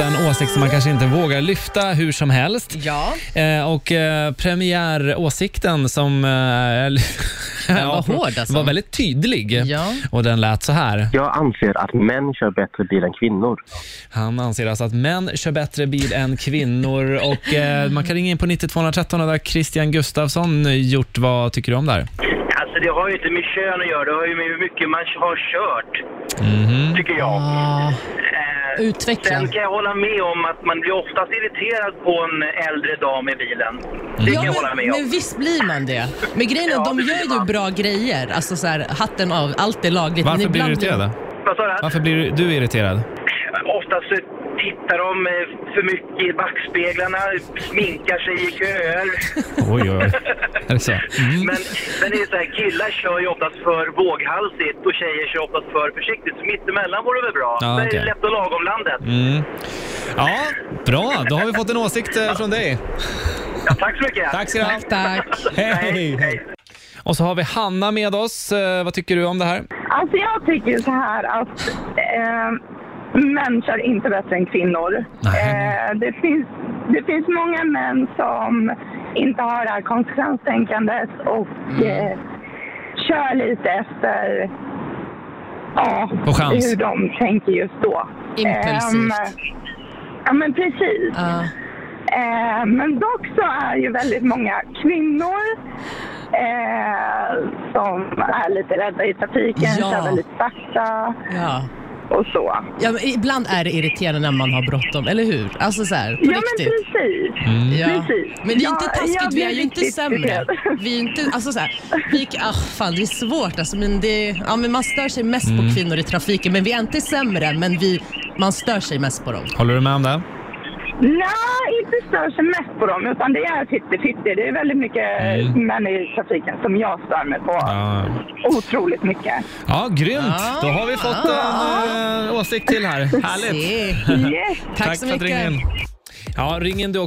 en åsikt som man kanske inte vågar lyfta hur som helst. Ja, Eh, och eh, premiäråsikten som eh, eller- Den var hård alltså. var väldigt tydlig. Ja. Och den lät så här. Jag anser att män kör bättre bil än kvinnor. Han anser alltså att män kör bättre bil än kvinnor. Och eh, Man kan ringa in på 9213 och där har Christian Gustafsson gjort. Vad tycker du om det här? Alltså det har ju inte med kön att göra, det har ju med hur mycket man har kört, Mhm. tycker jag. ah, Eh, utveckla. Sen kan jag hålla med om att man blir oftast irriterad på en äldre dam i bilen. Det kan Mm. Ja, jag hålla men, med men om. visst blir man det? Men grejen är, Ja, de det gör blir ju man. bra grejer. Alltså så här, hatten av, allt är lagligt. Varför Men blir du ibland- irriterad? då? Vad sa du? Varför blir du irriterad? Oftast så tittar de eh, för mycket i backspeglarna, sminkar sig i köer. Oj, oj, oj. Är det så? Mm. Men sen är det så här, killar kör ju oftast för våghalsigt och tjejer kör oftast för försiktigt. Så mittemellan vore väl bra. Ja, Det okej. är lätt och lagom landet. Mm. Ja, bra. Då har vi fått en åsikt eh, från dig. Ja, tack så mycket! Tack ska du ha. Tack, tack. Hej! Och så har vi Hanna med oss. Eh, vad tycker du om det här? Alltså jag tycker ju så här att eh, män kör inte bättre än kvinnor. Nej. Eh, det, finns, det finns många män som inte har det här konsekvenstänkandet och Mm. eh, kör lite efter ja, På chans. hur de tänker just då. Impulsivt. Ehm, ja men precis. Ah, Eh, men dock så är ju väldigt många kvinnor eh, som är lite rädda i trafiken, Ja. kör väldigt sakta ja. och så. Ja, men ibland är det irriterande när man har bråttom, eller hur? Alltså så här, på ja riktigt. Mm. men precis. Ja. precis. Men det är inte Ja, taskigt, jag vi är blir ju inte riktigt sämre. irriterad. Vi är inte, alltså så här, vi, ah, fan, det är svårt alltså, men det, ja, men man stör sig mest Mm. på kvinnor i trafiken. Men vi är inte sämre, men vi, man stör sig mest på dem. Håller du med om det? Nej, inte stör sig mest på dem utan det är 50-50. Det är väldigt mycket Mm. män i trafiken som jag stör mig på. Ja, Otroligt mycket. ja grymt. Ja. Då har vi fått en eh, åsikt till här. Härligt. Se. Yes. Tack, Tack så för att du mycket. ringde in. Ja, ring in du